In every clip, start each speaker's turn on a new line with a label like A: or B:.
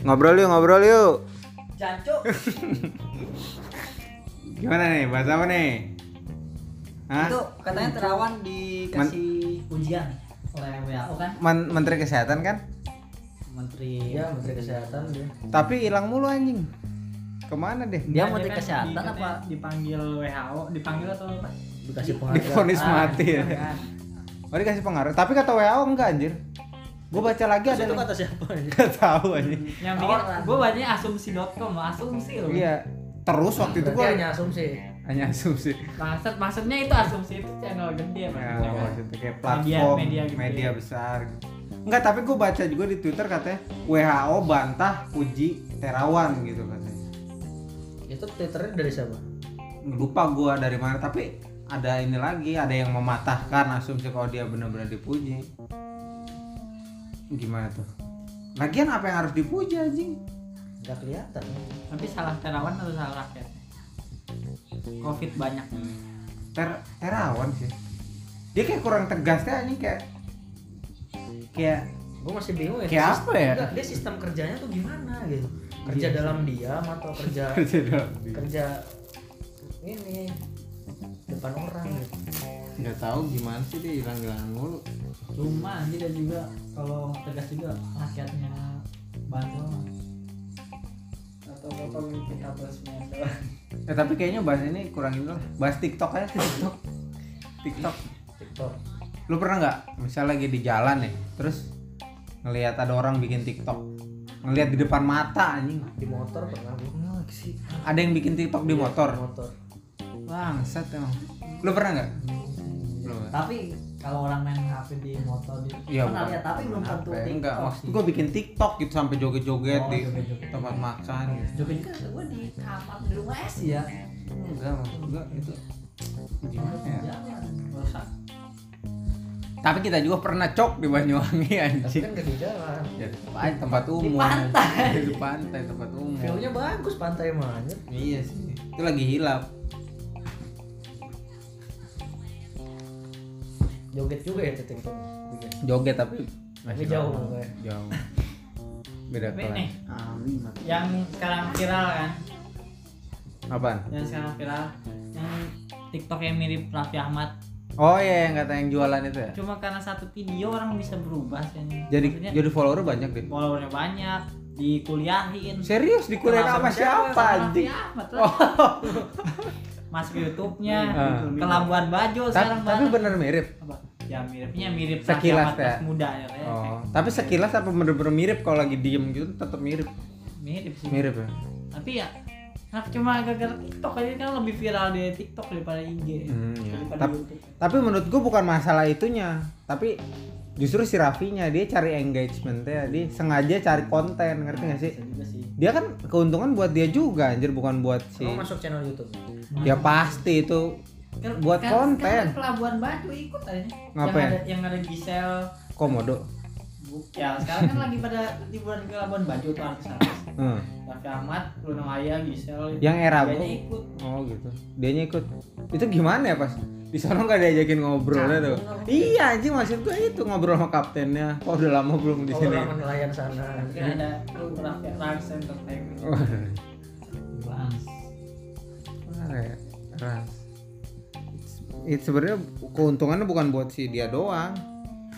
A: Ngobrol yuk, ngobrol yuk.
B: Jancuk.
A: Gimana nih, bahas apa nih? Hah?
B: Itu katanya terawan dikasih ujian oleh WHO kan?
A: Men- Menteri Kesehatan kan?
B: Menteri
C: Iya, menteri kesehatan dia.
A: Tapi hilang mulu anjing. Kemana deh?
B: Dia
D: Nah,
B: menteri
D: kan
B: kesehatan
D: di-
B: apa?
D: Dipanggil WHO, dipanggil atau apa?
C: Dikasih penghargaan.
A: Difonis mati ya.
B: Kan.
A: Oh dikasih pengaruh. Tapi kata WHO enggak anjir. Gue baca lagi
C: Terus
A: ada
C: itu
A: lagi.
C: kan- kata siapa?
A: Gak tahu anjing.
D: Yang bikin
B: Orang.
D: gua bacanya asumsi.com, asumsi loh.
A: Iya. Terus waktu itu
C: Berarti
A: gue
C: hanya asumsi.
A: hanya asumsi.
D: Maksud maksudnya itu asumsi itu channel
A: Ya,
D: gede maksudnya kan.
A: maksudnya kayak platform media,
D: media gede.
A: besar. gitu. Enggak, tapi gue baca juga di Twitter katanya WHO bantah uji terawan gitu katanya.
C: Itu twitternya dari siapa?
A: Lupa gue dari mana, tapi ada ini lagi, ada yang mematahkan asumsi kalau dia benar-benar dipuji. Gimana tuh? Lagian apa yang harus dipuji anjing?
C: Gak kelihatan.
D: Tapi salah terawan atau salah rakyat? Covid banyak.
A: Ter terawan sih. Dia kayak kurang tegas deh anjing kayak kayak
C: Gue masih bingung ya.
A: Kayak
C: Sis-
A: apa ya?
C: Enggak, dia sistem kerjanya tuh gimana gitu. Kerja
B: Iya.
C: dalam diam atau kerja kerja ini depan orang gitu.
A: nggak tahu gimana sih dia hilang-hilangan mulu
D: Cuma anjir dan juga kalau tegas juga rakyatnya bandel atau bapak mimpi kabel semua
A: Ya, tapi kayaknya bahas ini kurang ini lah. Bahas TikTok aja. TikTok. TikTok.
C: TikTok.
A: Lu pernah nggak misal lagi di jalan nih, terus ngelihat ada orang bikin TikTok. Ngelihat di depan mata anjing.
C: Di motor pernah gue nggak sih.
A: Ada yang bikin TikTok
B: Iya.
A: di
C: Di
A: motor.
C: motor.
A: Bangsat emang. Lu pernah nggak? Belum.
B: Tapi kalau orang main HP di motor di
A: Iya,
B: pernah
A: bukan.
B: lihat tapi belum tentu
A: Apa ya? Enggak,
B: TikTok
A: maksud
B: sih.
A: gua bikin TikTok gitu sampai joget-joget
B: Oh,
A: di
B: joget-joget.
A: tempat makan gitu.
B: Joget kan gue di kamar di rumah es ya.
A: Enggak, maksud gua itu gimana ya?
B: Jangan.
D: rusak.
A: Tapi kita juga pernah cok di Banyuwangi
C: Tapi
A: anjing.
C: kan gak di jalan.
A: Ya, tempat- tempat umum.
B: pantai.
A: Di pantai tempat umum.
C: View-nya bagus pantai banget.
A: Iya sih. Itu lagi hilap.
C: Joget juga ya tuh TikTok. Bikin.
A: Joget tapi
C: Tapi jauh
A: lama.
C: makanya.
A: Jauh. Beda
D: Tapi
A: kelas.
D: nih, yang sekarang viral kan?
A: Apaan?
D: Yang sekarang viral yang TikTok yang mirip Raffi Ahmad.
A: Oh iya yang kata yang jualan itu ya.
D: Cuma karena satu video orang bisa berubah sih.
A: Jadi
D: Maksudnya,
A: jadi follower banyak deh.
D: followernya banyak, dikuliahin.
A: Serius dikuliahin sama
D: Termasuk
A: siapa
D: Sama
A: anjing? Oh.
D: Raffi Ahmad lah. Masuk YouTube-nya,
A: Ah.
D: ke Labuan
A: Ta-
D: Bajo sekarang
A: tapi
D: banget.
A: bener mirip.
D: Apa? Ya miripnya mirip
A: Sekilas,
D: Sekilas
A: ya.
D: pas muda ya. kayak-
A: Oh, tapi sekilas apa bener-bener mirip kalau lagi diem gitu tetap mirip.
D: Mirip sih.
A: Mirip ya.
D: Tapi ya Nah, cuma gara-gara TikTok aja kan lebih viral di TikTok daripada IG.
A: Hmm, iya.
D: Daripada
A: Tapi,
D: YouTube.
A: tapi menurut gue bukan masalah itunya, tapi justru si Raffinya dia cari engagementnya, dia sengaja cari konten, ngerti gak sih?
D: Bisa juga sih.
A: Dia kan keuntungan buat dia juga, anjir bukan buat si.
C: Lo masuk channel YouTube.
A: Ya pasti itu buat konten.
D: Kan pelabuhan Batu ikut aja.
A: Ngapain?
D: Yang ada, yang ada Giselle.
A: Komodo.
D: Bu- Ya sekarang kan lagi pada liburan ke Labuan Bajo tuh artis artis.
A: Hmm.
D: Raffi Ahmad, Luna Maya, Giselle.
A: Yang era
D: dianya
A: gua.
D: ikut.
A: Oh gitu. Dianya ikut. Itu gimana ya pas di sana nggak diajakin ngobrolnya tuh? Iya anjing maksud gue itu ngobrol sama kaptennya. Kok udah lama belum di
C: Kalau
A: sini?
C: orang Oh, nelayan sana.
D: Mungkin ada lu Raffi Rans Entertainment.
A: Oh, iya.
D: Rans.
A: Wah, Ras. Itu ya, sebenarnya keuntungannya bukan buat si dia doang.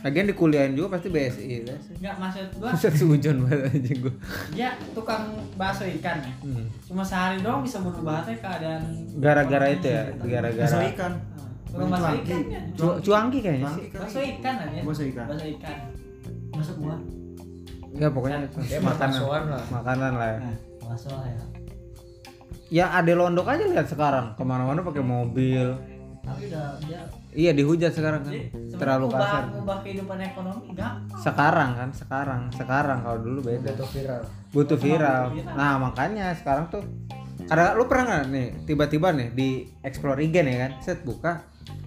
A: Lagian di kuliahan juga pasti BSI lah sih.
D: Enggak maksud gua,
A: Buset seujun banget anjing gua.
D: dia tukang bakso ikan ya.
A: Hmm.
D: Cuma sehari doang bisa berubah teh keadaan
A: Gara-gara itu ya, gara-gara
E: Bakso ikan.
D: Nah, Tukang bakso ikan ya.
A: Cu- cuangki kayaknya Iya sih.
E: Bangki kan.
D: Bakso ikan aja.
E: Bakso ikan.
D: Bakso ikan. Masuk gua.
A: Ya
D: Iya,
A: pokoknya itu.
C: Dia
A: makanan.
C: baksoan lah.
A: Makanan lah. ya.
D: Nah, bakso lah ya.
A: Ya Ade Londok aja lihat sekarang kemana-mana pakai mobil.
D: Tapi udah dia
A: Iya dihujat sekarang kan.
D: Jadi, sebenarnya
A: Terlalu
D: ubah-
A: kasar.
D: ubah kehidupan ekonomi gampang
A: Sekarang kan, sekarang, sekarang kalau dulu beda.
C: Jatuh viral.
A: butuh
D: Sama
A: viral.
D: butuh viral.
A: Nah makanya sekarang tuh karena lu pernah nggak nih tiba-tiba nih di explore IG nih kan set buka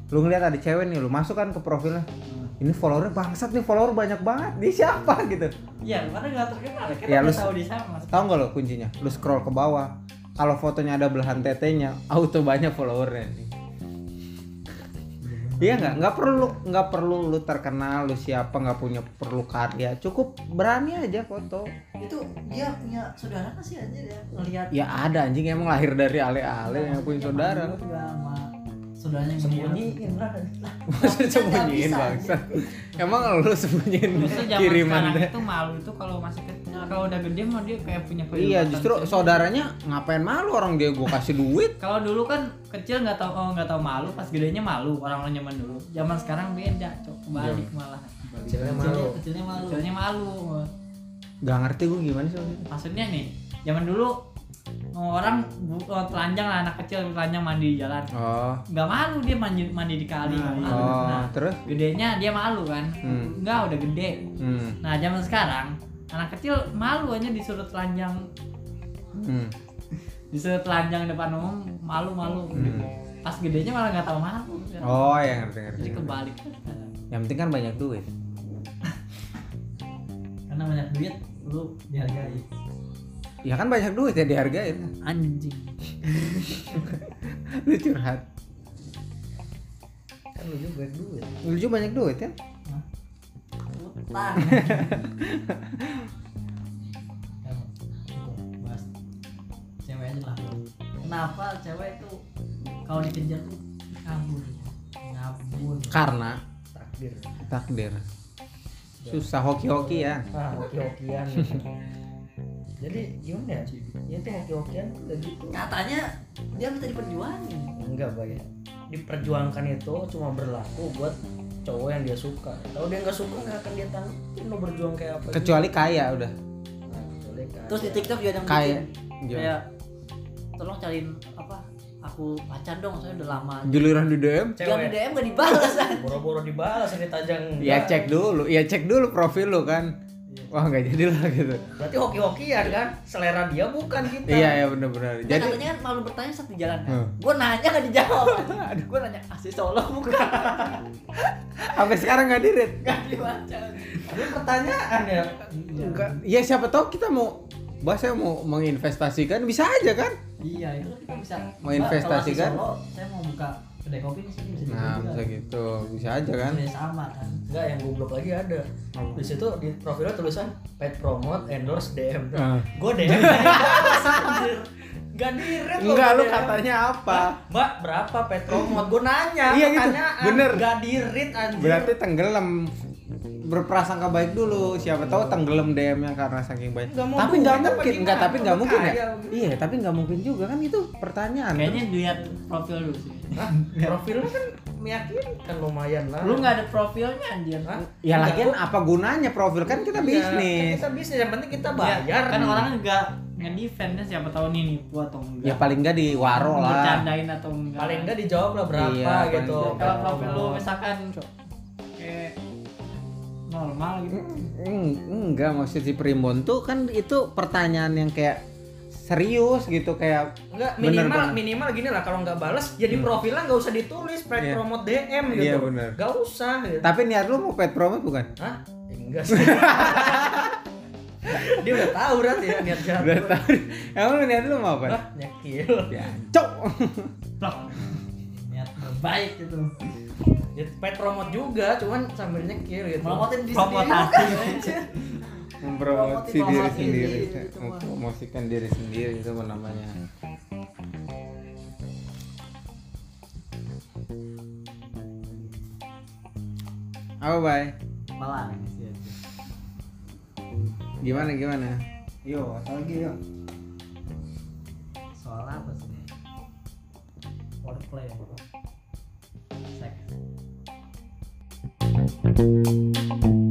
A: lu ngeliat ada cewek nih lu masuk kan ke profilnya
D: Hmm.
A: ini followernya bangsat nih follower banyak banget dia siapa gitu
D: iya karena nggak terkenal kita
A: Ya,
D: ya,
A: lu-
D: tahu di sana Mas.
A: tahu nggak lo kuncinya lu scroll ke bawah kalau fotonya ada belahan tetenya auto banyak followernya nih Iya nggak, nggak perlu nggak perlu lu terkenal, lu siapa nggak punya perlu karya, cukup berani aja foto.
B: itu dia punya saudara nggak sih anjir ya ngelihat
A: Ya ada anjing emang lahir dari ale-ale yang punya saudara.
B: Gua juga sama saudaranya yang
C: Sembunyiin
B: ngeliat. lah kan
A: Maksudnya
B: Nggak
A: sembunyiin
B: bisa,
A: bangsa.
B: anjir.
A: Emang lu sembunyiin
D: Justru zaman
A: kiriman
D: sekarang
A: deh.
D: itu malu itu kalau masih kecil, kalau udah gede mah dia kayak punya kehidupan
A: Iya justru
D: sendiri.
A: saudaranya ngapain malu orang dia gua kasih duit.
D: Kalau dulu kan kecil nggak tahu oh, nggak tahu malu, pas gedenya malu orang-orang zaman dulu. Zaman sekarang beda, cok kebalik malah.
C: Kecilnya
B: kecilnya
C: malu.
B: kecilnya malu
D: Kecilnya malu.
A: Gak ngerti gua gimana sih. Oh, waktu itu.
D: Maksudnya nih, zaman dulu oh, orang bu- oh, telanjang lah anak kecil telanjang mandi di jalan.
A: Oh,
D: Nggak malu dia mandi mandi di kali.
B: Nah,
D: nggak malu.
A: oh
D: Nah,
A: terus?
D: gedenya dia malu kan?
A: Hmm.
D: Nggak udah gede.
A: Hmm.
D: Nah zaman sekarang anak kecil malu aja disuruh telanjang
A: Hmm.
D: disuruh telanjang depan umum malu malu
A: Hmm.
D: pas gedenya malah nggak tahu malu
A: Oh ya ngerti ngerti.
D: jadi
B: Iya.
A: ngerti.
D: kebalik
A: Yang penting kan banyak duit.
B: karena banyak duit lu dihargai
A: Ya kan banyak duit ya dihargain.
D: anjing
A: Lu curhat.
C: Kan lu juga duit.
A: Lu juga banyak duit ya?
B: utang Kan, itu, bahas cewek aja lah kenapa cewek itu kalau dikejar tuh kabur kabur
A: Karena
C: Takdir.
A: takdir. Susah hoki-hoki ya.
C: Ah, hoki-hokian. Jadi gimana ya? Ya itu hoki-hokian tuh udah gitu.
B: katanya dia minta diperjuangin
C: Enggak, Bay. Diperjuangkan itu cuma berlaku buat cowok yang dia suka. Kalau dia nggak suka nggak akan dia tanggapin lo berjuang kayak apa. juga.
A: Kecuali kaya udah.
C: Nah, kecuali kayak-
B: terus di tiktok juga ada yang
A: Kaya.
B: bikin,
C: Iya.
B: kayak tolong cariin apa aku pacar dong saya udah lama
A: Giliran di DM.
B: jangan di
C: cewek
B: DM gak dibalas anjing.
C: boro-boro dibalas ini tajang.
A: Ya cek dulu, ya cek dulu profil lu kan.
C: Iya.
A: Wah nggak jadi lah gitu.
C: Berarti hoki-hokian kan? Selera dia bukan kita.
A: Iya ya benar-benar.
B: Dia
A: Jadi
B: katanya kan malu bertanya saat di
D: ya?
B: jalan kan?
A: Hmm.
B: Gue nanya gak dijawab Aduh gue nanya
D: "Ah,
B: asli solo bukan
A: sampai sekarang nggak dirit.
C: Iya.
B: Gak dibaca
C: Ini pertanyaan ya.
A: Nggak- Ya siapa tahu kita mau Bah saya mau menginvestasikan bisa aja kan?
B: Iya itu kan kita bisa
A: Mau
B: Mbak,
A: investasi
B: kalau asli
A: kan?
B: Solo, Saya mau buka kedai kopi di sini bisa
C: Iya,
A: Nah bisa gitu, bisa aja kan?
B: Bisa sama kan
C: Enggak, yang goblok lagi ada. Di situ di profilnya tulisan pet promote endorse DM.
A: Ah.
C: Gue DM. Gak direct lo
A: Enggak lu
C: DM.
A: katanya apa?
C: ya. Mbak berapa pet promote? Gue nanya
A: Iya gitu,
C: pertanyaan.
A: bener.
C: Gak dirit anjir.
A: Berarti tenggelam berprasangka baik dulu siapa tahu tenggelam DM-nya karena saking banyak
C: Nggak mau
A: tapi
C: duit
A: nggak
C: apa
A: mungkin nggak
C: gimana?
A: tapi nggak
C: Lu
A: mungkin ya
C: kaya.
A: iya tapi nggak mungkin juga kan itu pertanyaan
D: kayaknya dilihat profil dulu sih
C: Hah? profilnya kan meyakinkan lumayan lah.
D: lu nggak ada profilnya anjir
C: Hah?
A: ya
C: Nggak,
A: lagian
C: gua-
A: apa gunanya profil kan kita
C: Iya, kan
A: bisnis
C: Kita bisnis Iya, yang penting kita
D: Ya,
C: bayar.
D: kan orang nggak ngedefendnya siapa tahu nih nipu atau enggak
A: ya paling nggak di waro lah
D: bercandain atau enggak
C: paling enggak dijawab lah berapa
A: Iya, paling
C: gitu.
A: enggak.
D: kalau profil lu misalkan kayak normal gitu
A: Hmm. Eng- Mm, enggak maksud si primbon tuh kan itu pertanyaan yang kayak serius gitu kayak
C: Enggak,
A: Bener,
C: minimal
A: bener.
C: minimal gini lah kalau nggak balas ya di profilnya nggak usah ditulis pet
A: Hmm. Iya.
C: promote DM gitu.
A: Iya, bener.
C: Nggak usah gitu.
A: tapi niat lu mau pet promote bukan
C: Hah? Eh, Enggak sih. Dia udah tahu kan ya niat jahat.
A: udah
C: gua.
A: tahu emang niat lu mau
C: Hah?
A: apa
C: Nyekil.
A: ya cok
D: plok
B: Niat baik gitu
C: Ya, pet promote juga, cuman sambil nyekil gitu.
B: Melopotin diri sendiri
D: Promotasi.
B: bukan, anjir.
A: mempromosi
B: Promosi
A: diri
B: promosi
A: sendiri
B: diri, gitu, Mas.
A: mempromosikan diri sendiri itu namanya apa bay
B: Kepala
A: gimana gimana
B: Yo, lagi yo Soal apa sih? Wordplay Seks